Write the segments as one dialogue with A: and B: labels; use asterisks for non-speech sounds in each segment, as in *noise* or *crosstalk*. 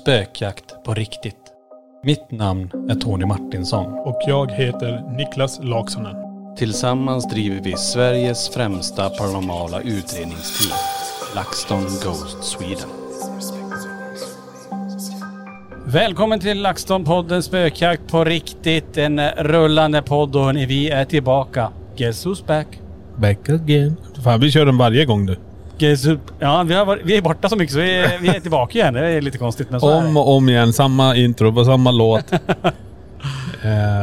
A: Spökjakt på riktigt. Mitt namn är Tony Martinsson.
B: Och jag heter Niklas Laksonen.
A: Tillsammans driver vi Sveriges främsta paranormala utredningsteam. LaxTon Ghost Sweden. Välkommen till LaxTon-podden Spökjakt på riktigt. En rullande podd och hörni, vi är tillbaka. Guess who's back?
B: Back again. Fan, vi kör den varje gång nu.
A: Guess who... Ja, vi, har varit, vi är borta så mycket så vi är, vi är tillbaka igen. Det är lite konstigt men så är det.
B: Om och om igen. Samma intro på samma låt. *laughs* eh,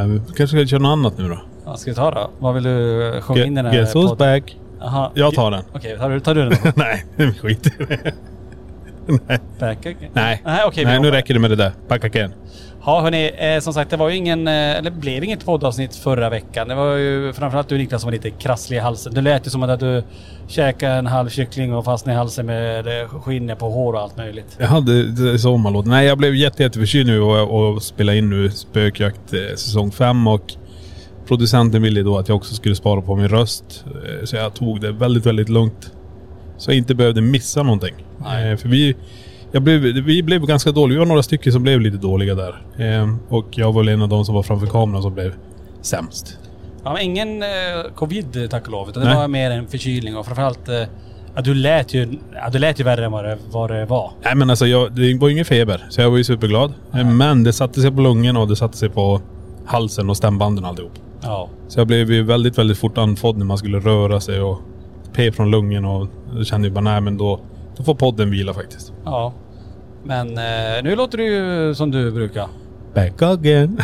B: vi kanske ska köra något annat nu då?
A: Ja, ska vi ta då? Vad vill du eh, sjunga in i den här
B: Guess who's
A: podden?
B: back.
A: Aha.
B: Jag tar den.
A: Okej, tar du, tar du den
B: *laughs*
A: då?
B: Nej,
A: *laughs*
B: skit i det. Nej.
A: Back again.
B: Nej,
A: Nej, okej, vi
B: Nej nu
A: hoppar.
B: räcker det med det där. Back again.
A: Ja hörni, eh, som sagt det var ju ingen, eh, eller blev inget poddavsnitt förra veckan. Det var ju framförallt du Niklas som var lite krasslig i halsen. Det lät ju som att du käkade en halv kyckling och fastnade i halsen med eh, skinnet på hår och allt möjligt.
B: Jag hade det är så man låter. Nej, jag blev jätte, jätteförkyld nu och, och spelade in nu Spökjakt eh, säsong 5 och producenten ville då att jag också skulle spara på min röst. Eh, Så jag tog det väldigt, väldigt lugnt. Så jag inte behövde missa någonting. Eh, För vi, jag blev, vi blev ganska dåliga. Vi var några stycken som blev lite dåliga där. Eh, Och jag var väl en av de som var framför kameran som blev sämst.
A: Ja, men ingen eh, covid tack och lov. Utan det
B: Nej.
A: var mer en förkylning och framförallt eh, att du lät ju, ja, du lät ju värre än vad det, vad det var.
B: Nej men alltså jag, det var ju ingen feber. Så jag var ju superglad. Eh, Men det satte sig på lungorna och det satte sig på halsen och stämbanden alltihop.
A: Ja.
B: Så jag blev ju väldigt, väldigt fort andfådd när man skulle röra sig och p från lungen och då kände jag bara nej men då, då får podden vila faktiskt.
A: ja. Men eh, nu låter du ju som du brukar.
B: Back again.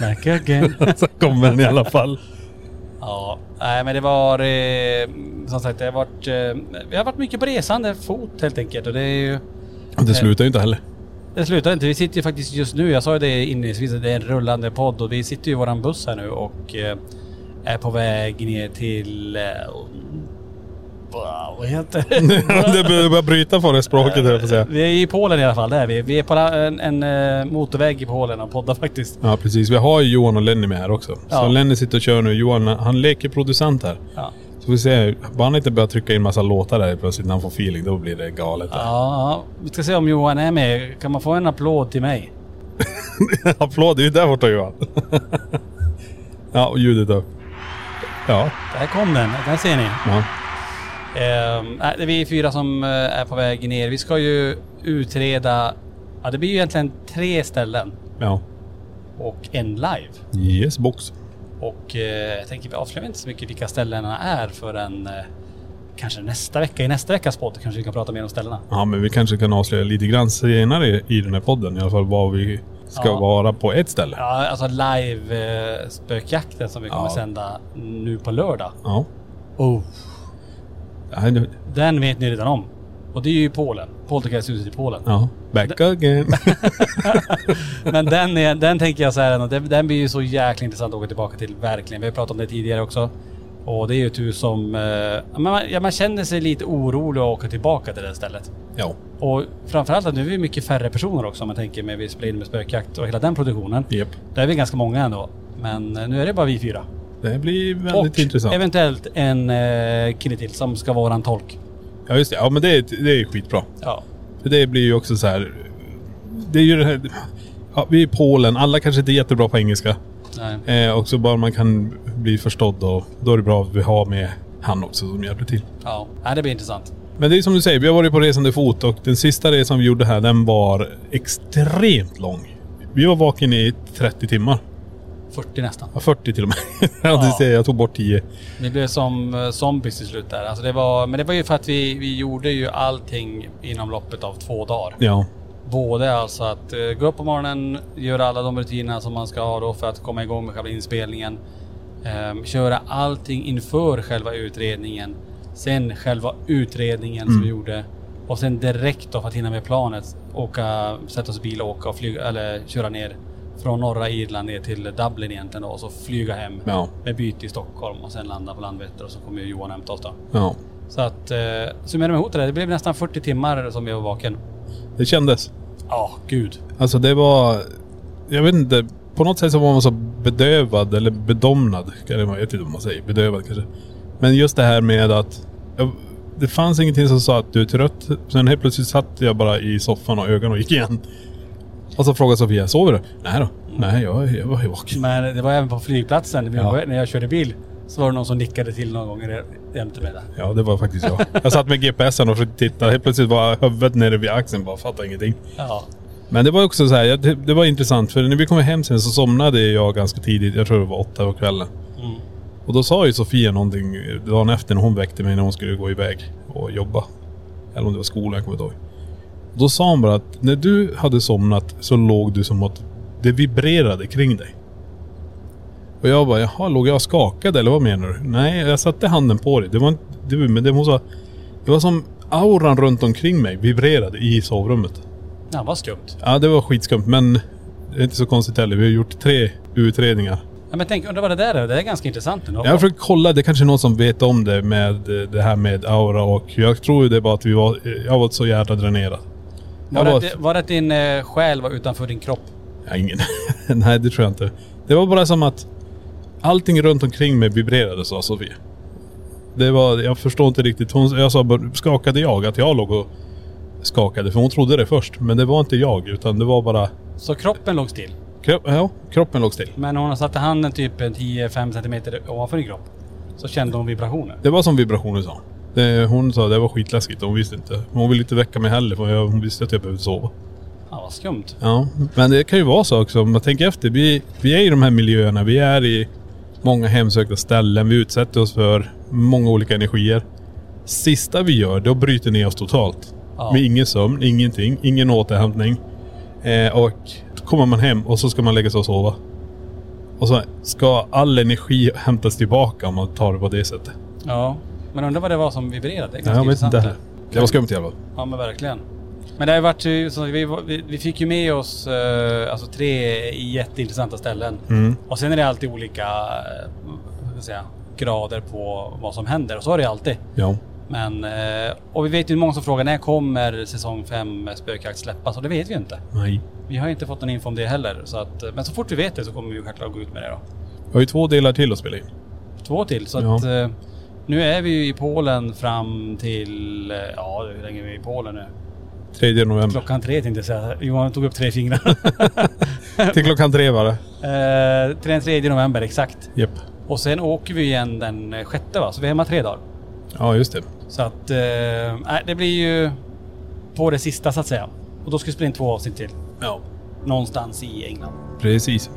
A: Back again.
B: *laughs* så kommer den i alla fall.
A: *laughs* Ja, nej men det var eh, som sagt, det har varit, eh, vi har varit mycket på resande fot helt enkelt och det är ju,
B: Och det slutar ju inte heller. *laughs*
A: det slutar inte. Vi sitter ju faktiskt just nu, jag sa ju det inledningsvis, att det är en rullande podd och vi sitter ju i våran buss här nu och eh, är på väg ner till, eh, vad heter det?
B: det börjar börjar bryta för det språket höll jag på att säga.
A: *laughs* Vi är i Polen i alla fall, det är vi. Vi är på en, en eh, motorväg i Polen och poddar faktiskt.
B: Ja precis, vi har ju Johan och Lenny med här också.
A: Ja.
B: Så Lenny sitter och kör nu. Johan han leker producent här.
A: Ja.
B: Så vi ser, bara han inte börjar trycka in massa låtar där plötsligt när han får feeling, då blir det galet. *laughs* där.
A: Ja, vi ska se om Johan är med. Kan man få en applåd till mig?
B: Applåd, det är ju där borta Johan. *laughs* ja, och ljudet upp. Ja,
A: Där kom den, där ser ni.
B: ja.
A: Ehm, nej, det är vi fyra som eh, är på väg ner. Vi ska ju utreda, ja det blir ju egentligen tre ställen
B: Ja.
A: och en live.
B: Yes box.
A: Och eh, jag tänker vi avslöjar inte så mycket vilka ställena är förrän eh, kanske nästa vecka. I nästa veckas podd kanske vi kan prata mer om ställena.
B: Ja men vi kanske kan avslöja lite grann senare i- i den här podden i alla fall vad vi ska
A: Ja.
B: vara på ett ställe. Ja.
A: Ja, alltså live eh, spökjakten som vi kommer
B: Ja.
A: sända nu på lördag.
B: ja.
A: Oh.
B: Ja, nu-
A: Den vet ni redan om. Och det är ju i Polen. Poltergeisthuset i Polen.
B: ja.
A: *laughs*
B: Back again.
A: Men den, är, den tänker jag så här, den, den blir ju så jäkla intressant att åka tillbaka till, verkligen. Vi har pratat om det tidigare också. Och det är ju tur som... Eh, ja, man, ja, man känner sig lite orolig att åka tillbaka till det stället.
B: Ja.
A: Och framförallt att nu är vi mycket färre personer också om man tänker med vi spelar in med spökjakt och hela den produktionen.
B: Japp.
A: Där är vi ganska många ändå. Men eh, nu är det bara vi fyra.
B: Det blir väldigt
A: och
B: intressant.
A: eventuellt en eh, kille till som ska vara en tolk.
B: Ja just det. Ja men det, är- det är ju skitbra.
A: Ja.
B: För det blir ju också så här. Det är ju det här. Ja, vi är i Polen. Alla kanske inte är jättebra på engelska.
A: Nej.
B: Eh, och så bara man kan bli förstådd och då är det bra att vi har med han också som hjälper till.
A: Ja. ja, det blir intressant.
B: Men det är som du säger, vi har varit på resande fot och den sista resan vi gjorde här den var extremt lång. Vi var vaken i 30 timmar.
A: 40 nästan.
B: Ja, 40 till och med. *laughs* Ja. det ser jag, jag tog bort 10.
A: Vi blev som eh, zombies till slut där. Alltså det var, men det var ju för att vi, vi gjorde ju allting inom loppet av två dagar.
B: Ja.
A: Både alltså att eh, gå upp på morgonen, göra alla de rutinerna som man ska ha då för att komma igång med själva inspelningen. Ehm, köra allting inför själva utredningen. Sen själva utredningen som vi gjorde. Och sen direkt då för att hinna med planet åka, sätta oss i bil och åka och flyga, eller köra ner från norra Irland ner till Dublin egentligen då och så flyga hem
B: Ja.
A: med byte i Stockholm och sen landa på Landvetter och så kommer ju Johan och hämta oss då.
B: Ja.
A: Så att eh, summerar vi ihop det där, det blev nästan 40 timmar som vi var vaken.
B: Det kändes.
A: Ja, gud.
B: Alltså det var... Jag vet inte. På något sätt så var man så bedövad eller bedomnad. Eller Jag vet inte vad man säger. Bedövad kanske. Men just det här med att... Jag, det fanns ingenting som sa att du är trött. Sen helt plötsligt satt jag bara i soffan och ögonen gick igen. Och så frågade Sofia, sover du? Nej då. Nej, jag, jag var ju vaken.
A: Men det var även på flygplatsen. Vi
B: Ja.
A: var- När jag körde bil så var det någon som nickade till någon gång re- jämte mig där.
B: Ja, det var faktiskt jag. Jag satt med GPSen och försökte titta. Helt plötsligt var huvudet nere vid axeln bara. Fattade ingenting.
A: Ja.
B: Men det var också så här, ja, det, det var intressant för när vi kom hem sen så somnade jag ganska tidigt. Jag tror det var åtta på kvällen. Och då sa ju Sofia någonting dagen efter när hon väckte mig när hon skulle gå iväg och jobba. Eller om det var skolan, jag kommer inte ihåg. Då sa hon bara att när du hade somnat så låg du som att det vibrerade kring dig. Och jag bara, jaha, låg jag och skakade eller vad menar du? Nej, jag satte handen på dig. Det var inte du, men det, hon sa, det var som auran runt omkring mig vibrerade i sovrummet.
A: ja, vad skumt.
B: Ja, det var skitskumt men det är inte så konstigt heller. Vi har gjort tre utredningar.
A: Ja, men tänk, undrar vad det där är? Det är ganska intressant ändå.
B: Jag har försökt kolla, det är kanske är någon som vet om det med eh, det här med aura och jag tror ju det var att vi var, eh, jag var så jävla dränerad.
A: var,
B: Jag
A: det,
B: var,
A: att- var det att din eh, själ var utanför din kropp?
B: ja, ingen. *laughs* Nej, det tror jag inte. Det var bara som att allting runt omkring mig vibrerade sa Sofie. Det var, jag förstår inte riktigt. Hon, jag sa, bara, skakade jag? Att jag låg och skakade? För hon trodde det först. Men det var inte jag utan det var bara,
A: Så kroppen låg still.
B: kropp, ja, kroppen låg still.
A: Men hon satte handen typ en 10-5 centimeter ovanför din kropp. Så kände hon vibrationer.
B: Det var som vibrationer sa hon. det, Hon sa det var skitläskigt. Hon visste inte. Men Hon ville inte väcka mig heller för jag, hon visste att jag behövde sova.
A: Ja, vad skumt.
B: Ja, men det kan ju vara så också. Om man tänker efter. Vi, vi är i de här miljöerna. Vi är i många hemsökta ställen. Vi utsätter oss för många olika energier. Sista vi gör, då bryter ner oss totalt.
A: Ja.
B: Med ingen sömn, ingenting, ingen återhämtning. Eh, och då kommer man hem och så ska man lägga sig och sova. Och så ska all energi hämtas tillbaka om man tar det på det sättet.
A: Ja. Men undrar vad det var som vibrerade. Det är ganska
B: Ja, jag vet
A: intressant
B: inte
A: det.
B: heller. Det var skumt i alla fall.
A: Ja men verkligen. Men det har ju varit ju, så vi, vi, vi fick ju med oss eh, alltså tre jätteintressanta ställen. Och sen är det alltid olika eh, vad ska jag säga, grader på vad som händer och så är det ju alltid.
B: Ja.
A: Men, eh, och vi vet ju många som frågar när kommer säsong 5 spökjakt släppas och det vet vi ju inte.
B: Nej.
A: Vi har ju inte fått någon info om det heller. Så att, eh, men så fort vi vet det så kommer vi ju självklart gå ut med det då.
B: Jag har ju två delar till att spela in.
A: Två till så
B: Ja.
A: att eh, nu är vi ju i Polen fram till, eh, ja hur länge är vi i Polen nu?
B: 3 november.
A: Klockan tre tänkte jag säga. Johan tog upp tre fingrar.
B: till klockan tre var det.
A: eh, till den 3 november exakt.
B: Japp.
A: Och sen åker vi igen den eh, sjätte va? Så vi är hemma tre dagar.
B: Ja, just det.
A: Så att eh, nej, det blir ju på det sista så att säga. Och då ska vi spela in två avsnitt till.
B: Ja.
A: Någonstans i England.
B: Precis.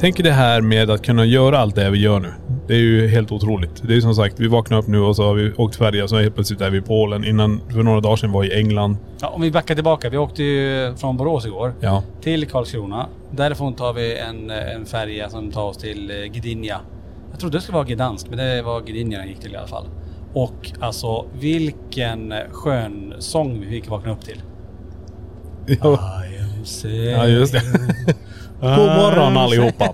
B: Tänk det här med att kunna göra allt det vi gör nu. Det är ju helt otroligt. Det är ju som sagt, vi vaknar upp nu och så har vi åkt färja så helt plötsligt är vi i Polen. Innan, för några dagar sedan var vi i England.
A: Ja, om vi backar tillbaka. Vi åkte ju från Borås igår
B: Ja.
A: till Karlskrona. Därifrån tar vi en, eh, en färja som tar oss till eh, Gdynia. Jag trodde det skulle vara Gdansk, men det var Gdynia den gick till i alla fall. Och alltså vilken skön sång vi fick vakna upp till.
B: Ja,
A: I am
B: ja just det. God morgon allihopa.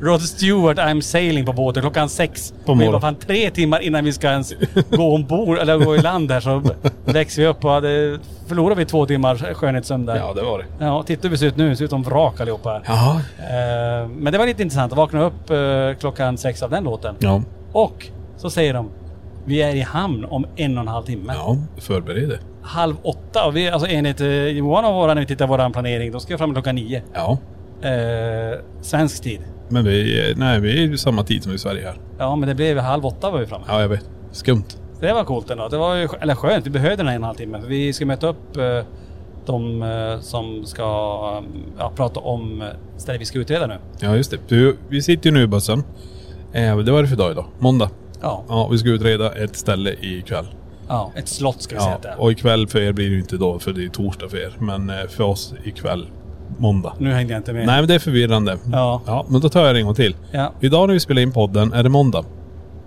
A: Rod Stewart, I'm sailing på båten klockan sex.
B: På
A: Och vi
B: morgonen.
A: bara fan tre timmar innan vi ska ens gå ombord eller gå i land här så växer vi upp och hade, förlorar vi två timmars skönhetssömn där.
B: Ja, det var det.
A: Ja, titta hur vi ser ut nu. Vi ser ut som vrak allihopa här.
B: Ja.
A: Eh, men det var lite intressant att vakna upp eh, klockan sex av den låten.
B: Ja.
A: Och så säger de vi är i hamn om en och en halv timme.
B: Ja, förbered dig.
A: Halv åtta. Och vi, alltså enligt eh, Johan och våra, när vi tittar på vår planering, de ska fram klockan nio.
B: Ja.
A: Eh, svensk tid.
B: Men vi, nej, vi är ju samma tid som i Sverige här.
A: Ja, men det blev halv åtta var vi framme.
B: Ja, jag vet. Skumt.
A: Så det var coolt ändå. Det var ju, eller skönt, vi behövde den här en och en halv timme. För vi ska möta upp eh, de eh, som ska eh, ja, prata om eh, stället vi ska utreda nu.
B: Ja, just det. Du, vi sitter ju nu i bussen. Eh, det var det för dag idag. Måndag.
A: Ja.
B: Ja, vi ska utreda ett ställe ikväll.
A: ja. Ett slott ska vi säga
B: Ja,
A: att det är.
B: och ikväll för er blir det ju inte då, för det är torsdag för er. Men eh, för oss ikväll, måndag.
A: Nu hängde jag inte med.
B: Nej, men det är förvirrande.
A: Ja.
B: ja. Men då tar jag det en gång till.
A: Ja.
B: Idag när vi spelar in podden är det måndag.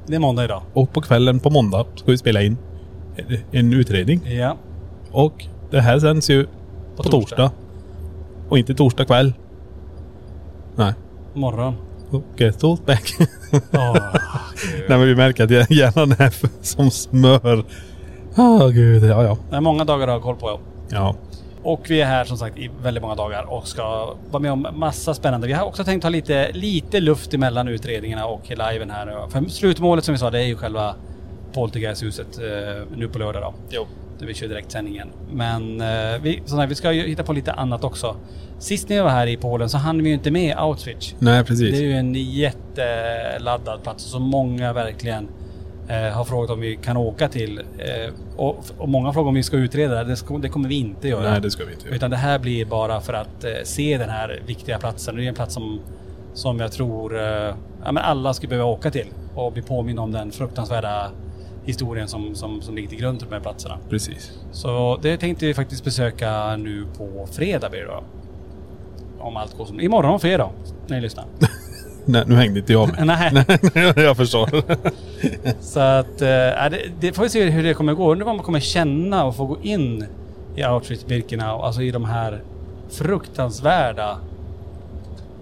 A: Det är måndag idag.
B: Och på kvällen på måndag ska vi spela in en utredning.
A: Ja.
B: Och det här sänds ju på, torsdag.
A: torsdag.
B: Och inte torsdag kväll. Nej.
A: Morgon.
B: Okej, stort back. *laughs*
A: Ja.
B: Nej men vi märker att hjärnan är *laughs* som smör. Ah gud, ja ja.
A: det är många dagar att ha koll på.
B: Ja.
A: Och vi är här som sagt i väldigt många dagar och ska vara med om massa spännande. Vi har också tänkt ha lite, lite luft emellan utredningarna och liven här nu. För slutmålet som vi sa, det är ju själva Poltergeisthuset eh, nu på lördag då.
B: Jo.
A: Där vi kör direktsändningen. Men eh, vi, som sagt, vi ska ju hitta på lite annat också. Sist när jag var här i Polen så hann vi ju inte med Auschwitz.
B: Nej precis.
A: Det är ju en jätteladdad plats som många verkligen eh, har frågat om vi kan åka till. Eh, och, och många frågar om vi ska utreda det. Det, ska, det kommer vi inte göra.
B: Nej det ska vi inte göra.
A: Utan det här blir bara för att eh, se den här viktiga platsen. Det är en plats som, som jag tror eh, ja, men alla skulle behöva åka till och bli påminna om den fruktansvärda historien som, som, som ligger till grund för de här platserna.
B: Precis.
A: Så det tänkte vi faktiskt besöka nu på fredag blir det då. Om allt går som... Imorgon fredag, när ni
B: *laughs*
A: lyssnar.
B: Nej nu hängde inte jag med. *laughs*
A: Nej.
B: jag förstår. *laughs*
A: Så att, eh, ja, det, det får vi se hur det kommer gå. Undrar vad man kommer känna och få gå in i Auschwitz-Birkenau, alltså i de här fruktansvärda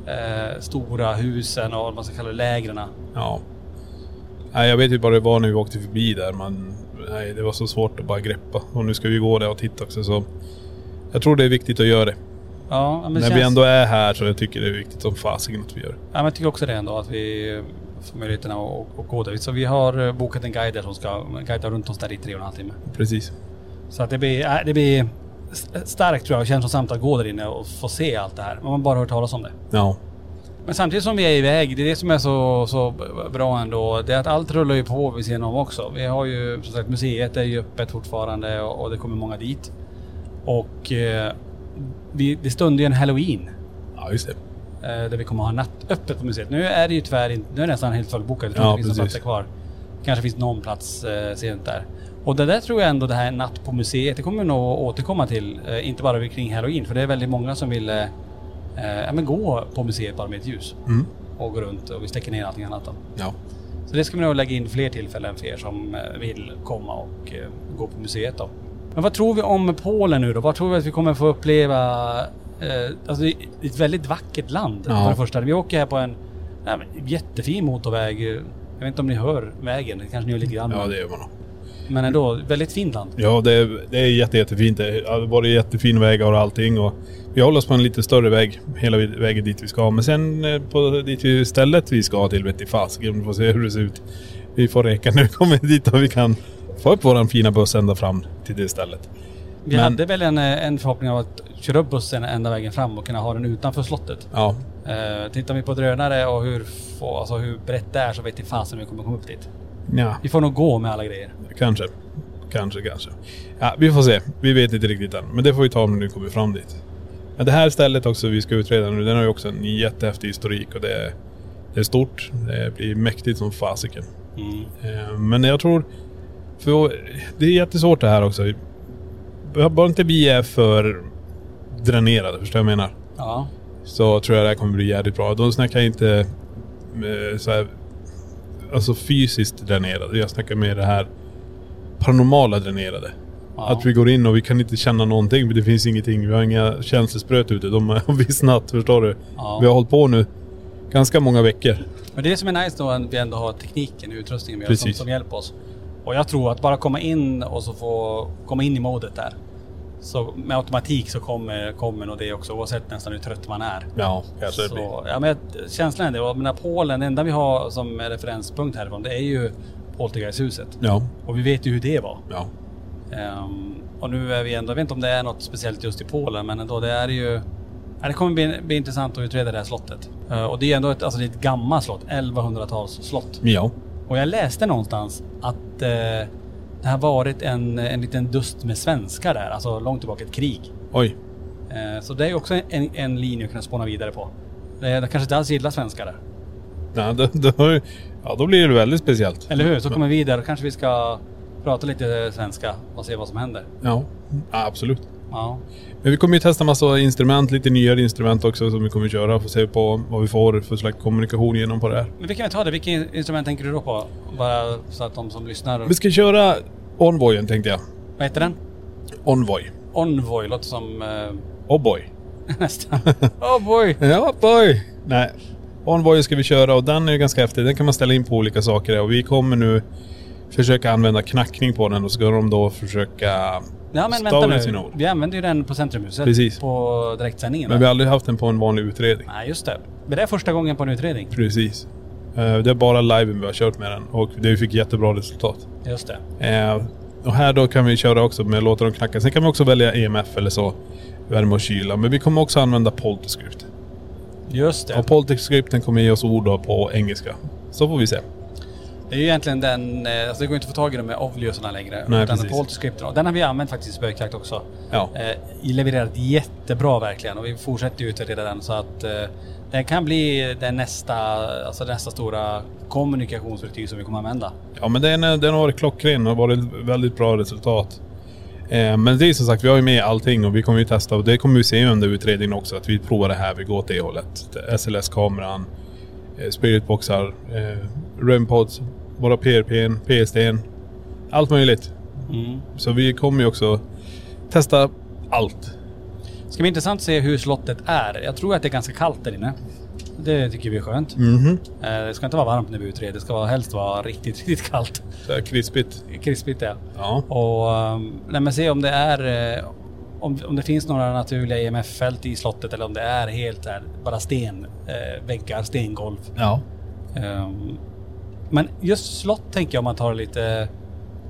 A: eh, stora husen och vad man ska kalla det, lägren.
B: ja. Nej jag vet ju bara det var när vi åkte förbi där. Man, nej det var så svårt att bara greppa. Och nu ska vi gå där och titta också så. Jag tror det är viktigt att göra det.
A: Ja, men,
B: när
A: känns,
B: vi ändå är här så jag tycker det är viktigt som fasiken att vi gör det.
A: ja, men jag tycker också det ändå, att vi eh, får möjligheten att att- att gå dit. Så vi har eh, bokat en guide där som ska guida runt oss där i tre och en halv timme.
B: Precis.
A: Så att det blir, äh, det blir st- starkt tror jag och känslosamt att gå där inne och få se allt det här. Man har bara hört talas om det.
B: Ja.
A: Men samtidigt som vi är iväg, det är det som är så, så bra ändå, det är att allt rullar ju på vid sidan om också. Vi har ju som sagt museet är ju öppet fortfarande och, och det kommer många dit. Och eh, vi, det stundar ju en halloween
B: Ja just det.
A: eh, där vi kommer ha nattöppet på museet. Nu är det ju tyvärr inte, nu är det nästan helt fullbokat. Jag tror
B: Ja,
A: inte det finns några
B: precis.
A: platser kvar. Kanske finns någon plats eh, sent där. Och det där tror jag ändå det här natt på museet, det kommer vi nog återkomma till. Eh, inte bara kring halloween, för det är väldigt många som vill eh, eh, ja, men gå på museet bara med ett ljus.
B: Mm.
A: Och gå runt och vi släcker ner allting annat då.
B: Ja.
A: Så det ska vi nog lägga in fler tillfällen för er som eh, vill komma och eh, gå på museet då. Men vad tror vi om Polen nu då? Vad tror vi att vi kommer få uppleva? Eh, alltså det är ett väldigt vackert land
B: Ja.
A: för det första. Vi åker här på en nej, men, jättefin motorväg. Jag vet inte om ni hör vägen, det kanske ni gör lite grann.
B: Ja det gör man nog.
A: Men ändå, väldigt fint land.
B: Ja, det är, det är jätte, jättefint. Det har varit jättefin vägar och allting. Och vi håller oss på en lite större väg hela vid- vägen dit vi ska. Men sen eh, på dit vi stället vi ska till vet i fasiken. Vi får se hur det ser ut. Vi får räkna nu. Kommer *laughs* vi dit och vi kan få upp våran fina buss ända fram till det stället.
A: Vi
B: Men-
A: hade väl en, eh, en förhoppning av att köra upp bussen ända vägen fram och kunna ha den utanför slottet.
B: Ja,
A: Eh, tittar vi på drönare och hur, få, alltså hur brett det är så vet vi fasen hur vi kommer komma upp dit.
B: ja
A: Vi får nog gå med alla grejer.
B: kanske. Kanske, kanske. Ja, vi får se. Vi vet inte riktigt än. Men det får vi ta när vi kommer fram dit. Men det här stället också vi ska utreda nu, den har ju också en jättehäftig historik och det är Det är stort, det blir mäktigt som fasiken. Eh, Men jag tror... För det är jättesvårt det här också. Bara inte vi är för dränerade, förstår du vad jag menar?
A: Ja.
B: så tror jag det här kommer bli jävligt bra. De snackar inte eh, så här, alltså fysiskt dränerade. Jag snackar mer det här paranormala dränerade. Att vi går in och vi kan inte känna någonting. för Det finns ingenting. Vi har inga känselspröt ute. De har *laughs* vissnat, förstår du? Vi har hållit på nu ganska många veckor.
A: Men det är det som är nice då att vi ändå har tekniken och utrustningen med oss som,
B: Precis.
A: som hjälper oss. Och jag tror att bara komma in och så få komma in i modet där. Så med automatik så kommer, kommer nog det också oavsett nästan hur trött man är.
B: Ja, kanske det blir.
A: Så, ja, men jag- känslan är det. Och mina Polen, det enda vi har som referenspunkt härifrån det är ju Poltergeisthuset.
B: Ja,
A: Och vi vet ju hur det var.
B: ja.
A: Ehm, och nu är vi ändå, jag vet inte om det är något speciellt just i Polen, men ändå det är ju... Ja, det kommer bli, bli intressant att utreda det här slottet. Eh, och det är ändå ett, alltså det är ett gammalt slott, 1100-tals slott.
B: Ja.
A: Och jag läste någonstans att eh, det har varit en, en liten dust med svenskar där, alltså långt tillbaka, ett krig.
B: Oj.
A: Eh, så det är ju också en, en linje att kunna spåna vidare på. Eh, de kanske inte alls gillar svenskar där.
B: Nej, då, då, ja, då blir det väldigt speciellt.
A: Eller hur? Så kommer vi där och kanske vi ska prata lite svenska och se vad som händer.
B: Ja, ja absolut.
A: Ja.
B: Men vi kommer ju testa massa instrument, lite nyare instrument också som vi kommer köra. Får se på vad vi får för slags kommunikation genom på det här.
A: Men vi kan väl ta det. Vilka instrument tänker du då på? Bara så att de som lyssnar...
B: Vi ska köra Envoyen tänkte jag.
A: Vad heter den?
B: Envoy.
A: Envoy låter som... Eh, *laughs*
B: Oh boy.
A: nästan. Oh boy!
B: Ja, boy! Nej. Envoy ska vi köra och den är ju ganska häftig. Den kan man ställa in på olika saker och vi kommer nu försöka använda knackning på den och ska de då försöka
A: Ja men
B: stava
A: vänta
B: ut sina
A: nu.
B: ord.
A: Vi använder ju den på Centrumhuset.
B: Precis.
A: På direktsändningen.
B: Men vi har aldrig haft den på en vanlig utredning.
A: Nej just det. Men det är första gången på en utredning.
B: Precis. Eh, Det är bara liven vi har kört med den och det fick jättebra resultat.
A: Just det.
B: Eh, och här då kan vi köra också med låta dem knacka. Sen kan vi också välja EMF eller så. Värme och kyla. Men vi kommer också använda polterscript.
A: Just det.
B: Och polterscripten kommer ge oss ord då på engelska. Så får vi se.
A: Det är ju egentligen den... eh, Alltså det går inte att få tag i dem med Ovliusarna längre.
B: Nej,
A: utan
B: precis.
A: Polterscripten. Och Den har vi använt faktiskt i spökjakt också.
B: Ja.
A: Eh, levererat jättebra verkligen och vi fortsätter ju utvärdera den så att eh, den kan bli den nästa, alltså det nästa stora kommunikationsverktyg som vi kommer använda.
B: Ja men den, är- den har varit klockren och varit väldigt bra resultat. Eh, men det är som sagt, vi har ju med allting och vi kommer ju testa och det kommer vi se under utredningen också. Att vi provar det här, vi går åt det hållet. SLS-kameran, eh, spiritboxar, eh, römpods, våra PRPn, PSDn. Allt möjligt. Så vi kommer ju också testa allt.
A: Det ska bli intressant att se hur slottet är. Jag tror att det är ganska kallt där inne. Det tycker vi är skönt.
B: Mhm.
A: Eh, det ska inte vara varmt när vi utreder, det ska vara, helst vara riktigt, riktigt kallt. *laughs*
B: Så här krispigt.
A: Krispigt ja.
B: Ja.
A: Och ehm, nej, men se om det är eh, om, om det finns några naturliga EMF-fält i slottet eller om det är helt där, bara sten, eh, väggar, stengolv.
B: Ja.
A: Ehm, men just slott tänker jag om man tar det lite,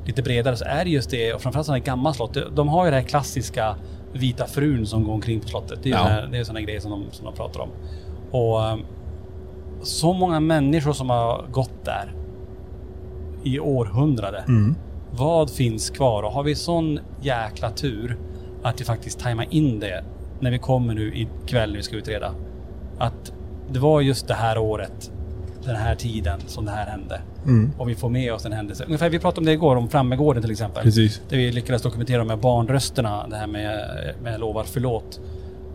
A: lite bredare så är det just det och framförallt sådana här gamla slott. de- De har ju det här klassiska vita frun som går omkring på slottet. Det är ju
B: Ja.
A: såna här- det är sådana grejer som de, som de pratar om. Och ehm, så många människor som har gått där i århundrade. Vad finns kvar? Och har vi sån jäkla tur att vi faktiskt tajmar in det när vi kommer nu ikväll när vi ska utreda. Att det var just det här året, den här tiden som det här hände. Och vi får med oss en händelse. Ungefär, vi pratade om det igår, om Frammegården till exempel.
B: Precis.
A: Där vi lyckades dokumentera med barnrösterna, det här med, med lovar förlåt.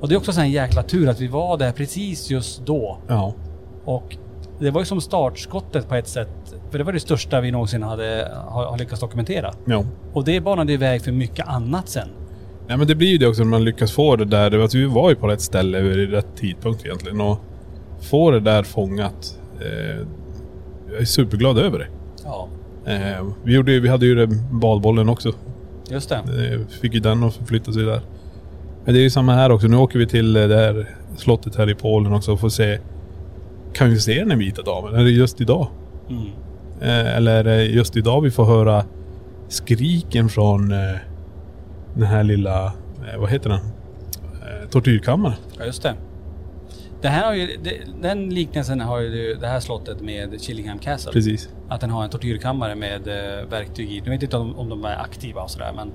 A: Och det är också så här en jäkla tur att vi var där precis just då.
B: Ja.
A: Och det var ju som startskottet på ett sätt. För det var det största vi någonsin hade har, har lyckats dokumentera.
B: ja.
A: Och det banade ju väg för mycket annat sen.
B: Nej men det blir ju det också när man lyckas få det där. Alltså, vi var ju på rätt ställe vid rätt tidpunkt egentligen. Och få det där fångat. Eh, jag är superglad över det.
A: Ja,
B: Eh, vi, gjorde, ju- vi hade ju det, balbollen också.
A: just det.
B: Eh, fick ju den att förflytta sig där. Men det är ju samma här också. Nu åker vi till eh, det här slottet här i Polen också och får se. Kan vi se den här vita damen? Är det just idag?
A: Mm.
B: Eh, eller är det just idag vi får höra skriken från eh, den här lilla, eh, vad heter den? Eh, tortyrkammaren.
A: Ja, just det. Det här har ju, det, den liknelsen har ju det här slottet med Chillingham Castle.
B: Precis.
A: Att den har en tortyrkammare med eh, verktyg i. Nu vet jag inte om, om de är aktiva och sådär men...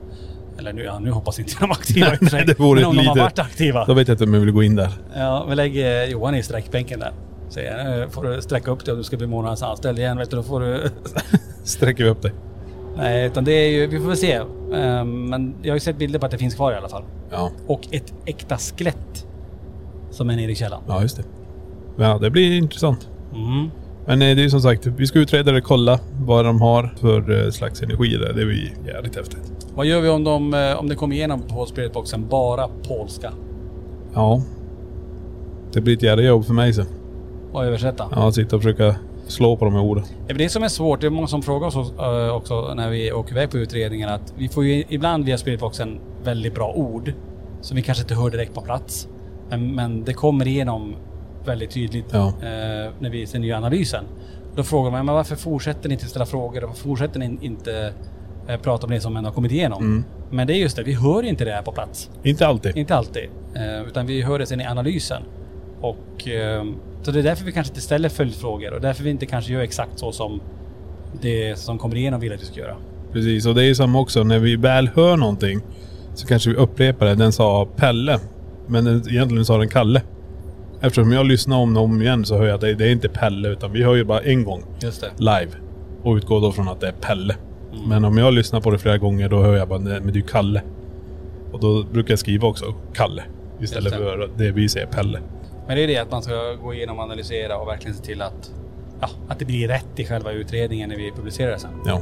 A: Eller nu, ja, nu hoppas jag inte de är aktiva i och för
B: *laughs*
A: sig.
B: det vore
A: Men om
B: ett
A: de har
B: litet-
A: varit aktiva.
B: Då vet jag inte om jag vill gå in där.
A: Ja, vi lägger Johan i sträckbänken där. Säger jag, "Nu får du sträcka upp dig om du ska bli månadens anställd igen. Vet du, då får du... *laughs*
B: Sträcker vi upp dig?
A: Nej, utan det är ju, vi får väl se. Ehm, Men jag har ju sett bilder på att det finns kvar i alla fall.
B: Ja.
A: Och ett äkta skelett. Som är nere i källaren.
B: Ja, just det. Ja, det blir intressant.
A: Mm.
B: Men eh, det är ju som sagt, vi ska utreda det och kolla vad de har för eh, slags energi där. Det blir jävligt häftigt.
A: Vad gör vi om, de, eh, om det kommer igenom på spiritboxen bara polska?
B: Ja. Det blir ett jävla jobb för mig sen.
A: Och översätta?
B: Ja, att sitta och försöka slå på de här orden.
A: Det är det som är svårt. Det är många som frågar oss eh, också när vi åker iväg på utredningen att vi får ju ibland via spiritboxen väldigt bra ord som vi kanske inte hör direkt på plats. Men, men det kommer igenom väldigt tydligt
B: Ja.
A: eh, när vi sen gör analysen. Då frågar man men varför fortsätter ni inte ställa frågor? Varför fortsätter ni inte eh, prata om det som ändå har kommit igenom? Men det är just det, vi hör inte det här på plats.
B: Inte alltid.
A: Inte alltid. Eh, Utan vi hör det sen i analysen. Och, eh, så det är därför vi kanske inte ställer följdfrågor och därför vi inte kanske gör exakt så som det som kommer igenom vill att vi ska göra.
B: Precis, och det är ju samma också. När vi väl hör någonting så kanske vi upprepar det. Den sa Pelle. Men den, egentligen sa den Kalle. Eftersom jag lyssnar om och om igen så hör jag att det, det är inte Pelle utan vi hör ju bara en gång.
A: Just det.
B: live och utgår då från att det är Pelle. Men om jag lyssnar på det flera gånger då hör jag bara "Nej, men det är ju Kalle. Och då brukar jag skriva också Kalle istället
A: Just det.
B: för det vi säger Pelle.
A: Men det är det att man ska gå igenom och analysera och verkligen se till att, ja, att det blir rätt i själva utredningen när vi publicerar det sen.
B: Ja.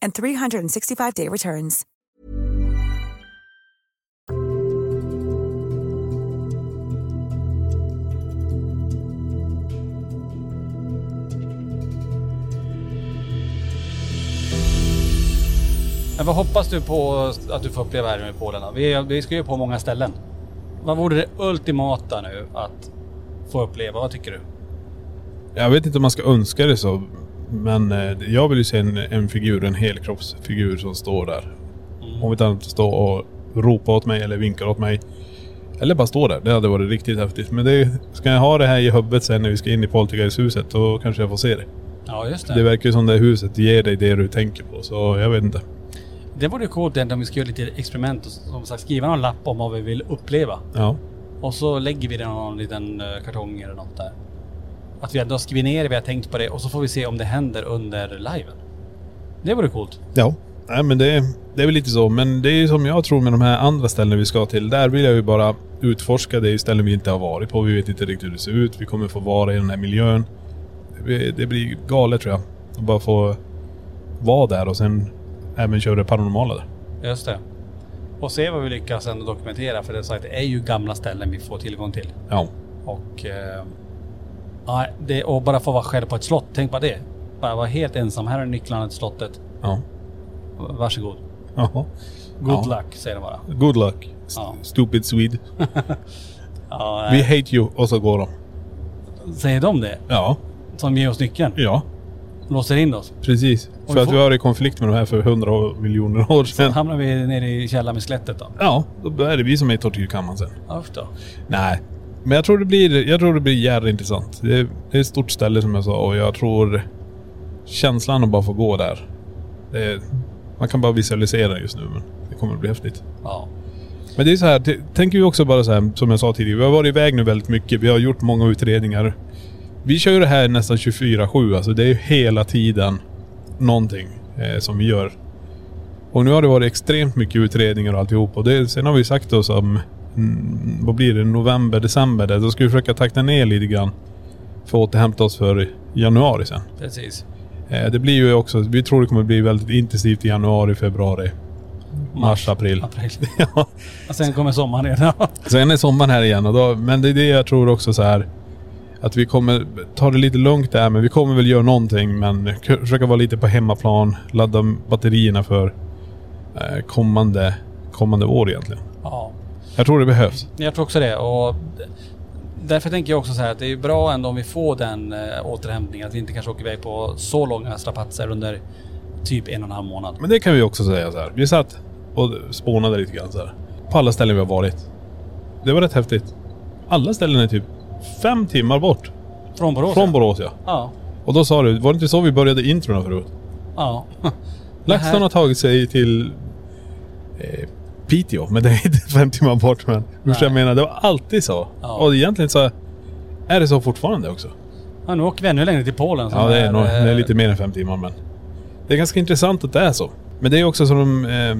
C: and 365-day returns.
A: Men vad hoppas du på att du får uppleva här nu i Polen då? Vi, vi ska ju på många ställen. Vad vore det ultimata nu att få uppleva? Vad tycker du?
B: Jag vet inte om man ska önska det så. Men eh, jag vill ju se en, en figur, en helkroppsfigur som står där.
A: Mm.
B: Om inte annat stå och ropa åt mig eller vinka åt mig. Eller bara stå där. Det hade varit riktigt häftigt. Men det, ska jag ha det här i huvudet sen när vi ska in i Poltergeisthuset då kanske jag får se det.
A: Ja, just
B: Det verkar ju som det här huset ger dig det du tänker på, så jag vet inte.
A: Det vore coolt egentligen om vi skulle göra lite experiment och som sagt skriva någon lapp om vad vi vill uppleva.
B: Ja.
A: Och så lägger vi den i någon liten eh, kartong eller något där. Att vi ändå har skrivit ner det, vi har tänkt på det och så får vi se om det händer under liven. Det vore coolt.
B: Ja. Nej men det, det är väl lite så, men det är ju som jag tror med de här andra ställena vi ska till. Där vill jag ju bara utforska. Det är ju ställen vi inte har varit på. Vi vet inte riktigt hur det ser ut. Vi kommer få vara i den här miljön. Det blir, det blir galet tror jag. Att bara få vara där och sen även köra det paranormala där.
A: Just det. Och se vad vi lyckas ändå dokumentera för det är sagt, det är ju gamla ställen vi får tillgång till.
B: Ja.
A: Och... Eh, nej, det, och bara få vara själv på ett slott, tänk bara det. Bara vara helt ensam, här är nycklarna till slottet.
B: Ja.
A: Varsågod.
B: Jaha.
A: Good
B: Ja.
A: luck, säger de bara.
B: Good luck. S-
A: Ja.
B: Stupid Swede.
A: Ja,
B: We hate you. Och så går de.
A: Säger de det?
B: Ja.
A: Som ger oss nyckeln?
B: Ja.
A: Låser in oss?
B: Precis.
A: vi
B: För att
A: får-
B: vi har i konflikt med de här för hundra miljoner
A: Sen
B: år sedan.
A: hamnar vi nere i källaren med skelettet då?
B: Ja, då är det vi som är i tortyrkammaren sen.
A: Ja, usch då.
B: Nej. Men jag tror det blir, jag tror det blir jävligt intressant. Det är, det är ett stort ställe som jag sa och jag tror känslan att bara få gå där. Det är, man kan bara visualisera just nu men det kommer att bli häftigt.
A: Ja.
B: Men det är så här, t- tänker vi också bara så här, som jag sa tidigare. Vi har varit iväg nu väldigt mycket. Vi har gjort många utredningar. Vi kör ju det här nästan 24-7. Alltså det är ju hela tiden någonting eh, som vi gör. Och nu har det varit extremt mycket utredningar och alltihop. Och det, sen har vi sagt då som mm, vad blir det, november, december där. Då ska vi försöka takta ner lite grann. För att återhämta oss för januari sen.
A: Precis.
B: Eh, Det blir ju också, vi tror det kommer bli väldigt intensivt i januari, februari, mars, april.
A: April.
B: *laughs* Ja.
A: Och sen kommer sommaren igen.
B: Sen är sommaren här igen och då, men det är det jag tror också så här. Att vi kommer ta det lite lugnt där, men vi kommer väl göra någonting. Men k- försöka vara lite på hemmaplan, ladda batterierna för eh, kommande, kommande år egentligen.
A: ja.
B: Jag tror det behövs.
A: Jag tror också det. Och därför tänker jag också så här att det är bra ändå om vi får den eh, återhämtningen. Att vi inte kanske åker iväg på så långa strapatser under typ en och en halv månad.
B: Men det kan vi också säga så här. Vi satt och spånade lite grann så här. På alla ställen vi har varit. Det var rätt häftigt. Alla ställen är typ fem timmar bort.
A: Från Borås?
B: Från Borås ja.
A: Ja.
B: Och då sa du, var det inte så vi började introna förut?
A: Ja. Det här-
B: LaxTon har tagit sig till eh, Piteå, men det är inte *laughs* fem timmar bort. Men förstår jag menar, det var alltid så.
A: Ja.
B: Och egentligen så är det så fortfarande också.
A: Ja, nu åker vi ännu längre till Polen. som
B: Ja, det är, nog, det är
A: eh,
B: lite mer än fem timmar, men det är ganska intressant att det är så. Men det är också som de, eh,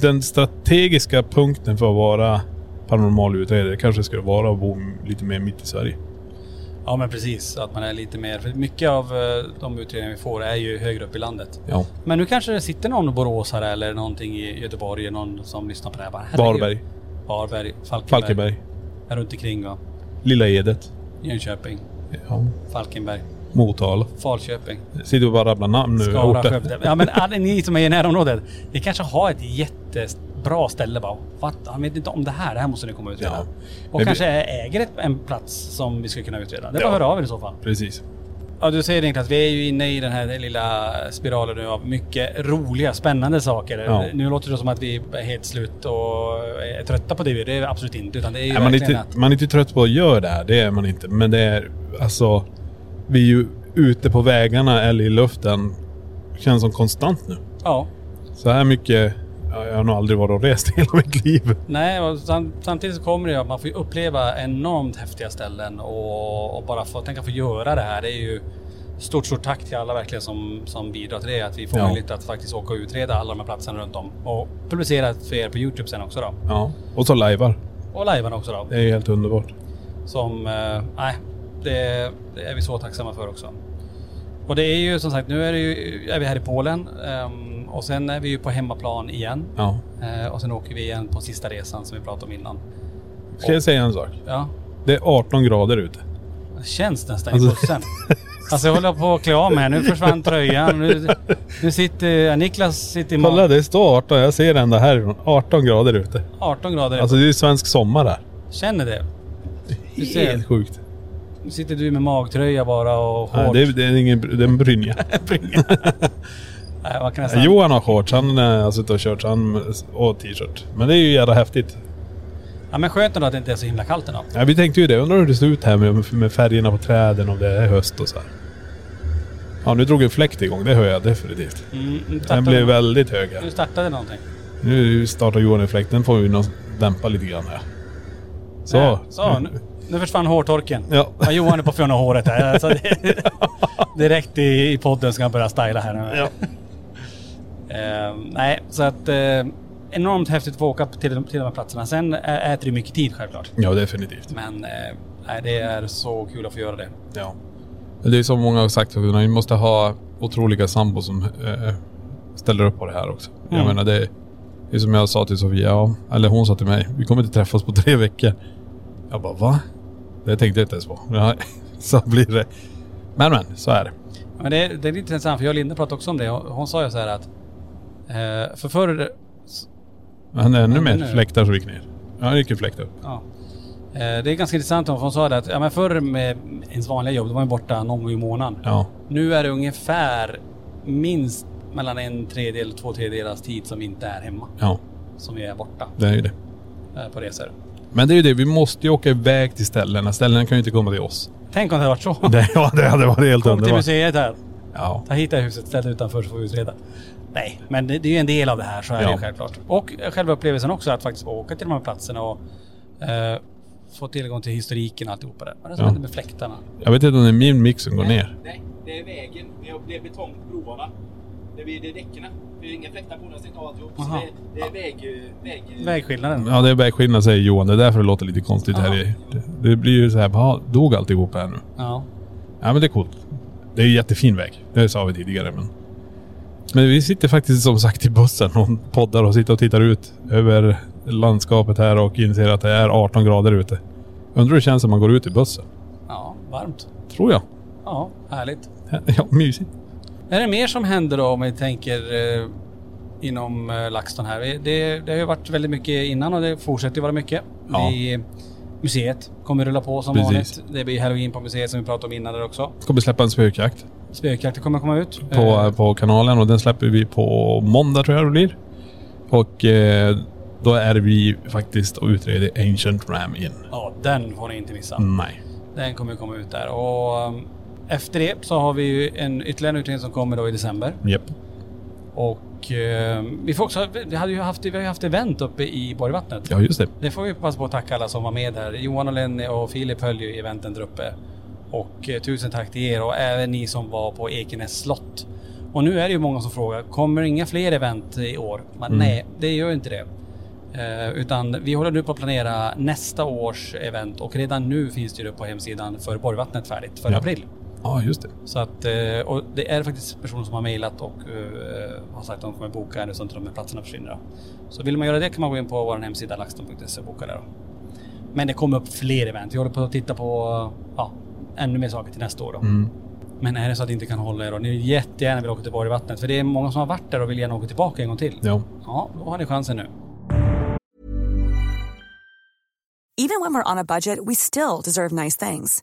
B: den strategiska punkten för att vara paranormal utredare kanske skulle vara att bo lite mer mitt i Sverige.
A: Ja, men precis. Att man är lite mer... För mycket av eh, de utredningar vi får är ju högre upp i landet.
B: Ja.
A: Men nu kanske det sitter någon boråsare eller någonting i Göteborg, någon som lyssnar på det här. bara, herregud.
B: Varberg,
A: Varberg, Falkenberg.
B: Falkenberg,
A: Här runt omkring va?
B: Lilla Edet,
A: Jönköping,
B: ja.
A: Falkenberg,
B: Motala.
A: Falköping,
B: Sitter och bara rabblar namn nu.
A: Skara,
B: Orter.
A: Skövde. Ja men alla ni som är i närområdet. Ni kanske har ett jättebra ställe bara. Fatt, han vet inte om det här, det här måste ni komma och utreda.
B: Ja.
A: Och
B: Men vi-
A: kanske äger ett, en plats som vi skulle kunna utreda. Det är bara
B: Ja.
A: att höra av er i så fall.
B: Precis.
A: Ja, du säger det Niklas, vi är ju inne i den här lilla spiralen nu av mycket roliga, spännande saker.
B: Ja.
A: Nu låter det som att vi är helt slut och är trötta på det. Det är vi absolut inte. Utan det är ju
B: Nej, man, är
A: verkligen
B: inte, man är inte trött på att göra det här, det är man inte. Men det är alltså... Vi är ju ute på vägarna eller i luften. Känns som konstant nu.
A: att... Ja.
B: Så här mycket... ja, Jag har nog aldrig varit och rest i hela mitt liv.
A: Nej, och sam- samtidigt så kommer det ju att man får ju uppleva enormt häftiga ställen och, och bara få, tänka få göra det här. Det är ju stort, stort tack till alla verkligen som, som bidrar till det. Att vi får
B: Ja.
A: möjlighet att faktiskt åka och utreda alla de här platserna runt om. Och publicera för er på Youtube sen också då.
B: Ja. Och så lajvar.
A: Och lajvan också då.
B: Det är helt underbart.
A: Som, eh, nej, det, det är vi så tacksamma för också. Och det är ju som sagt, nu är, det ju, är vi här i Polen ehm, och sen är vi ju på hemmaplan igen.
B: Ja.
A: Eh, och sen åker vi igen på sista resan som vi pratade om innan.
B: Ska jag säga en sak?
A: Ja,
B: Det är 18 grader ute.
A: känns nästan i
B: Alltså-
A: bussen. Alltså jag håller på att klä av mig här. Nu försvann tröjan. Nu, nu sitter ja, Niklas sitter i
B: Kolla,
A: mag-
B: det står 18. Jag ser det ända härifrån. 18 grader ute.
A: 18 grader.
B: Alltså det är ju svensk sommar här.
A: Känner det. Du ser.
B: Helt sjukt.
A: Nu sitter du med magtröja bara och
B: Nej,
A: shorts.
B: det, är- det är ingen... Det är en
A: *laughs*
B: brynja. *laughs*
A: Nej, man kan nästan...
B: Ja, Johan har shorts, han eh, har suttit och kört så han, och t-shirt. Men det är ju jävla häftigt.
A: Ja, men skönt ändå att det inte är så himla kallt Mm, ändå.
B: Ja, vi tänkte ju det, undrar hur det ser ut här med, med färgerna på träden, om det är höst och så här. Ja, nu drog en fläkt igång, det hör jag definitivt.
A: Mm, nu startar
B: Den blev
A: vi-
B: väldigt hög här.
A: Nu startade någonting.
B: Nu startar Johan en fläkt, den får vi nog dämpa lite grann här. Så.
A: Nej, Eh, så nu, nu försvann hårtorken.
B: Ja.
A: Ja, Johan är på fjärna håret här. Alltså,
B: *laughs*
A: det, direkt i, i podden ska han börja styla här nu.
B: Ja.
A: Eh, nej, så att eh, enormt häftigt att få åka till, till de här platserna. Sen ä- äter det mycket tid självklart.
B: ja, definitivt.
A: Men eh, nej, det är så kul att få göra det.
B: Ja. Det är som många har sagt, också, vi måste ha otroliga sambo som eh, ställer upp på det här också.
A: Mm.
B: Jag menar det är- det är som jag sa till Sofia, ja, eller hon sa till mig, vi kommer inte träffas på tre veckor. Jag bara va? Det tänkte jag inte ens på. *laughs* Ja, så blir det. Men men, så är det.
A: Men det, det är lite intressant för jag och Linda pratade också om det. Hon, hon sa ju så här att eh, för förr
B: Men det är ännu
A: Men
B: mer
A: nu-
B: fläktar som gick ner. Ja, det gick en fläkt upp.
A: Ja. Eh, Det är ganska intressant om hon sa det att ja, men förr med ens vanliga jobb, då var man borta någon gång i månaden.
B: Ja.
A: Nu är det ungefär minst mellan en tredjedel och två tredjedelars tid som inte är hemma.
B: Ja,
A: Som vi är borta
B: det är ju det.
A: eh, på resor.
B: Men det är ju det, vi måste ju åka iväg till ställena. Ställena kan ju inte komma till oss. *laughs*
A: Tänk om det hade varit så.
B: Det, ja, det hade varit helt
A: Kom till
B: underbart.
A: museet här.
B: Ja.
A: Ta hit det här huset, ställ det utanför så får vi utreda. Nej, men det, det är ju en del av det här, så är det
B: Ja.
A: ju självklart. Och själva upplevelsen också, att faktiskt åka till de här platserna och eh, få tillgång till historiken och alltihopa där. Vad är det som
B: Ja.
A: händer med fläktarna?
B: Jag vet inte om det är min mix som går ner.
D: Nej, det är vägen. Det är betongbroarna. Det blir det är däcken. Det är inga fläktar på den. Jag stängde av alltihop. Så
A: Aha.
D: det, det är väg... väg
A: Vägskillnaden.
B: Ja, det är vägskillnad säger Johan. Det är därför det låter lite konstigt här i... Det, det blir ju så här, bara, dog alltihop här nu?
A: Ja.
B: Ja, men det är coolt. Det är ju jättefin väg. Det sa vi tidigare, men... Men vi sitter faktiskt som sagt i bussen och poddar och sitter och tittar ut över landskapet här och inser att det är 18 grader ute. Undrar hur det känns när man går ut i bussen?
A: Ja, varmt.
B: Tror jag.
A: Ja, härligt.
B: Ja, mysigt.
A: Är det mer som händer då om vi tänker eh, inom eh, LaxTon här? Vi- Det, det har ju varit väldigt mycket innan och det fortsätter ju vara mycket.
B: Ja.
A: Vi, museet kommer rulla på som
B: Precis.
A: vanligt. Det blir halloween på museet som vi pratade om innan där också.
B: Kommer släppa en spökjakt
A: Spökjakter kommer komma ut.
B: på,
A: Eh,
B: på kanalen och den släpper vi på måndag tror jag det blir. Och eh, då är vi faktiskt och utreder Ancient Ram in.
A: Ja, den får ni inte missa.
B: Nej.
A: Den kommer ju komma ut där. Och um, efter det så har vi ju en ytterligare en utredning som kommer då i december.
B: Japp.
A: Och um, vi, får också, vi, hade ju haft, vi har ju haft event uppe i Borgvattnet.
B: Ja, just det.
A: Det får vi passa på att tacka alla som var med där. Johan och Lenny och Filip höll ju eventen där uppe. Och eh, tusen tack till er och även ni som var på Ekenäs slott. Och nu är det ju många som frågar, kommer inga fler event i år? Men Nej, det gör ju inte det. Eh, utan vi håller nu på att planera nästa års event och redan nu finns det ju det på hemsidan för Borgvattnet färdigt för
B: Ja.
A: april.
B: Ja, just det.
A: Så att, eh, och det är faktiskt personer som har mejlat och eh, har sagt att de kommer boka här nu så att inte de här platserna försvinner. då. Så vill man göra det kan man gå in på vår hemsida laxton.se och boka där. Då. Men det kommer upp fler event. Vi håller på att titta på ja, ännu mer saker till nästa år. Då. Men är det så att ni inte kan hålla er då? Ni vill jättegärna vill åka till Borgvattnet för det är många som har varit där och vill gärna åka tillbaka en gång till.
B: Ja.
A: Ja, då har ni chansen nu.
C: Even when we're on a budget, we still deserve nice things.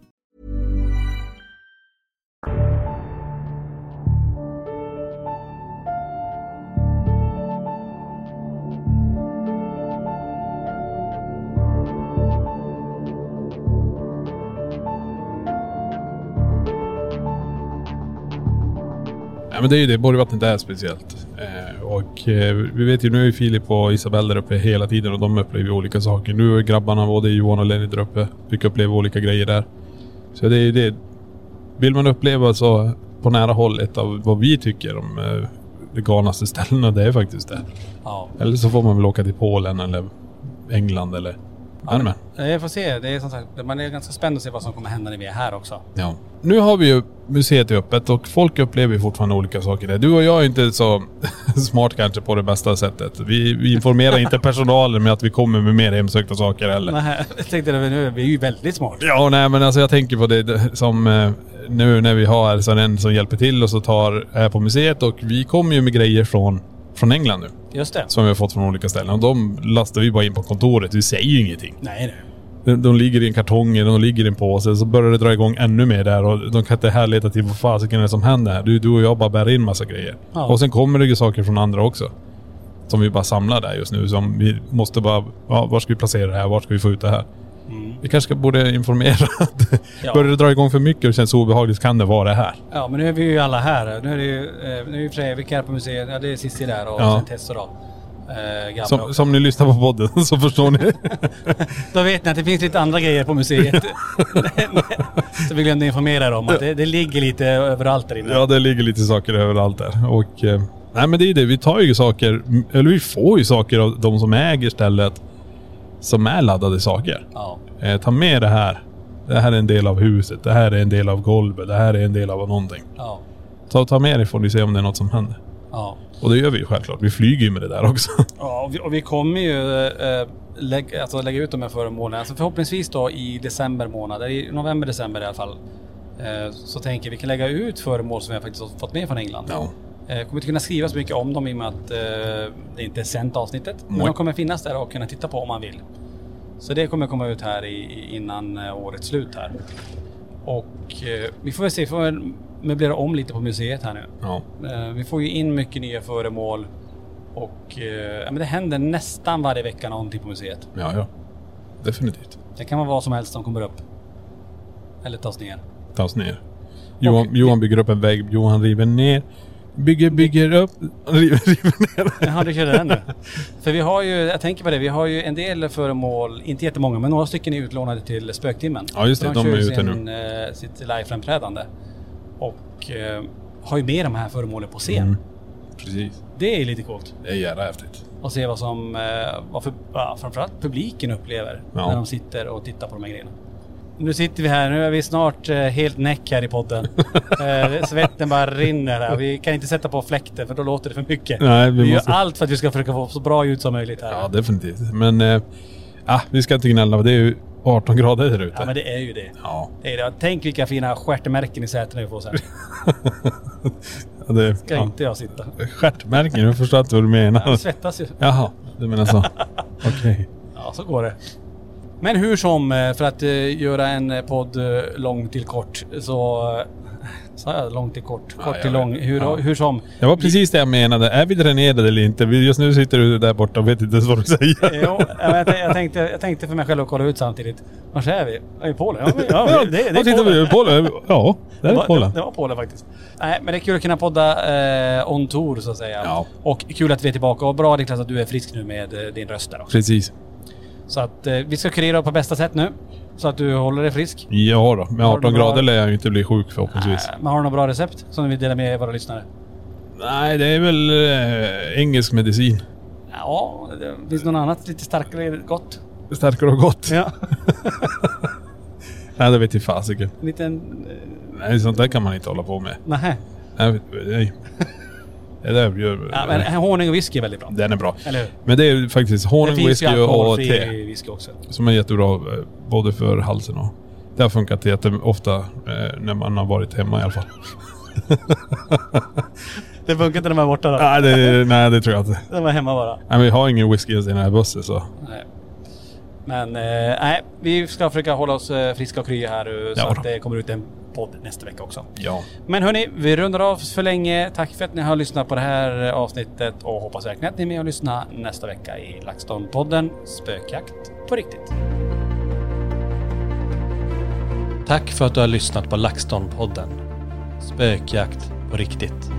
B: Ja, men det är ju det. Borgvattnet är speciellt. Eh, och eh, vi vet ju nu är Filip och Isabelle där uppe hela tiden och de upplever ju olika saker. Nu är grabbarna, både Johan och Lenny där uppe, fick uppleva olika grejer där. Så det är ju det. Vill man uppleva så på nära håll ett av vad vi tycker om eh, de galnaste ställena, det är faktiskt det.
A: Ja.
B: Eller så får man väl åka till Polen eller England eller... Ja, men.
A: Eh, Jag får se. Det är som sagt, man är ganska spänd att se vad som kommer hända när vi är här också.
B: Ja. Nu har vi ju museet öppet och folk upplever ju fortfarande olika saker där. Du och jag är inte så *laughs* smart kanske på det bästa sättet. Vi, vi informerar inte personalen med att vi kommer med mer hemsökta saker heller.
A: Nej, *laughs* jag tänkte det nu. Vi är ju väldigt smarta.
B: Ja, nej men alltså jag tänker på det det- som eh, nu när vi har så är det en som hjälper till och så tar är på museet och vi kommer ju med grejer från, från England nu.
A: Just det.
B: Som vi har fått från olika ställen och de lastar vi bara in på kontoret. Vi säger ju ingenting.
A: Nej, nej.
B: De, de ligger i en kartong, eller de ligger i en påse, så börjar det dra igång ännu mer där och de kan inte härleda till vad fasiken är det som händer här. Du, du och jag bara bär in massa grejer.
A: Ja.
B: Och sen kommer det ju saker från andra också. Som vi bara samlar där just nu. Som vi måste bara, ja, var ska vi placera det här? Var ska vi få ut det här? Vi kanske ska- borde informera. att
A: Mm. Ja.
B: Börjar det dra igång för mycket och det känns obehagligt kan det vara det här.
A: Ja, men nu är vi ju alla här. Nu är det ju, eh, nu är ju Frejvik här på museet. Ja, det är Cissi där och
B: Ja.
A: sen Tessor då. Eh, gamla
B: Som,
A: också.
B: som ni lyssnar på podden så förstår ni.
A: Då vet ni att det finns lite andra grejer på
B: *laughs*
A: museet. *laughs* Så vi glömde informera er om att det, det ligger lite överallt där inne.
B: Ja, det ligger lite saker överallt där. Och, eh, nej men det är ju det, vi tar ju saker, eller vi får ju saker av de som äger stället som är laddade saker.
A: Ja.
B: Eh, ta med det här. Det här är en del av huset, det här är en del av golvet, det här är en del av någonting.
A: Ja.
B: Ta, ta med det får ni se om det är något som händer.
A: Ja.
B: Och det gör vi ju självklart, vi flyger ju med det där också.
A: Ja, och vi, och vi kommer ju eh, lägga, alltså lägga ut de här föremålen. Alltså förhoppningsvis då i december månad, eller i november, december i alla fall. Eh, så tänker jag, vi kan lägga ut föremål som vi faktiskt har fått med från England.
B: Ja.
A: Eh, kommer inte kunna skriva så mycket om dem i och med att eh, det inte är sänt avsnittet. Men
B: Nej.
A: de kommer finnas där och kunna titta på om man vill. Så det kommer komma ut här i, i- innan eh, årets slut här. Och eh, vi får väl se, vi får väl möblera om lite på museet här nu.
B: Ja.
A: Eh, Vi får ju in mycket nya föremål och eh, ja, men det händer nästan varje vecka någonting på museet.
B: *laughs* Ja, ja. Definitivt.
A: Det kan vara vad som helst som kommer upp. Eller tas ner.
B: Ta oss ner. Johan, Johan bygger upp en vägg, Johan river ner. Bygger, bygger upp, *laughs* river, river ner.
A: Jaha, du körde den
B: *laughs*
A: nu. För vi har ju, jag tänker på det, vi har ju en del föremål, inte jättemånga, men några stycken är utlånade till Spöktimmen.
B: Ja, just det,
A: För
B: de
A: kör
B: är ute
A: sin, eh, sitt liveframträdande. Och eh, har ju med de här föremålen på scen.
B: Mm. Precis.
A: Det är lite coolt.
B: Det är jävla häftigt.
A: Och se vad som, eh, vad för, ja, framförallt publiken upplever
B: Ja.
A: när de sitter och tittar på de här grejerna. Nu sitter vi här, nu är vi snart eh, helt näck här i
B: *laughs*
A: podden. eh, svetten bara rinner här. Vi kan inte sätta på fläkten för då låter det för mycket.
B: Nej, vi
A: vi
B: måste-
A: gör allt för att vi ska försöka få så bra ljud som möjligt här.
B: Ja, definitivt. Men eh, ah, vi ska inte gnälla. Det är ju 18 grader här ute.
A: Ja, men det är ju det.
B: Ja.
A: det, är det. Tänk vilka fina stjärtmärken i sätena vi får sen.
B: Ja, det,
A: Ska
B: ja.
A: inte jag
B: *laughs*
A: sitta.
B: Stjärtmärken, jag förstår inte vad du menar.
A: Jag svettas ju.
B: Jaha, du
A: *laughs*
B: menar så. Okej.
A: Ja, så går det. Men hur som, eh, för att eh, göra en eh, podd eh, lång till kort så... eh, *laughs* Sa jag lång till kort? Kort
B: jag
A: till lång.
B: vet.
A: Hur,
B: Ja.
A: hur som.
B: Det var precis det jag menade. Är vi dränerade eller inte? Vi- Just nu sitter du där borta och vet inte ens vad du säger.
A: Jo, jag, vet, jag, tänkte, jag tänkte för mig själv att kolla ut samtidigt. Var är vi? Är vi i Polen? Ja, men- *laughs* ja, det, det
B: och
A: är
B: tittar
A: Polen.
B: vi Polen. Ja, där
A: Det
B: är
A: var-
B: Polen.
A: Det, det var Polen faktiskt. Nej, men det är kul att kunna podda eh, on tour så att säga.
B: Ja.
A: Och kul att vi är tillbaka. Och bra Niklas att du är frisk nu med eh, din röst där också.
B: Precis.
A: Så att eh, vi ska kurera på bästa sätt nu. Så att du håller dig frisk.
B: Ja då, med
A: Har du
B: 18 grader
A: bra-
B: lär jag ju inte bli sjuk förhoppningsvis.
A: Eh, Men har du några bra recept som du vill dela med våra lyssnare?
B: Nej, det är väl eh, engelsk medicin.
A: Ja, det finns något annat lite starkare gott?
B: Starkare och gott.
A: Ja.
B: *laughs* Nej, det vet jag fasiken.
A: En liten... eh,
B: Nej, sånt där kan man inte hålla på med.
A: Nähä.
B: Nej, nej. Det där gör...
A: Ja, men eh, honung och whisky är väldigt bra.
B: Den är bra.
A: Eller hur?
B: Men det är ju faktiskt
A: Det
B: Mm. honung,
A: finns ju
B: whisky och
A: alkoholfri
B: te.
A: whisky också.
B: Som är jättebra eh, både för halsen och... Det har funkat jätteofta eh, när man har varit hemma i alla fall.
A: Det funkar inte när man är borta då.
B: nej, det, *laughs* nej, det tror jag inte.
A: När man är hemma bara.
B: Nej, vi har ingen whisky ens i den här bussen så...
A: Nej. Men eh, nej, vi ska försöka hålla oss eh, friska och krya här eh, så
B: Ja,
A: att
B: då.
A: det kommer ut en podd nästa vecka också.
B: Ja.
A: Men hörni, vi rundar av för länge. Tack för att ni har lyssnat på det här eh, avsnittet och hoppas verkligen att ni är med och lyssnar nästa vecka i LaxTon-podden Spökjakt på riktigt. Tack för att du har lyssnat på LaxTon-podden Spökjakt på riktigt.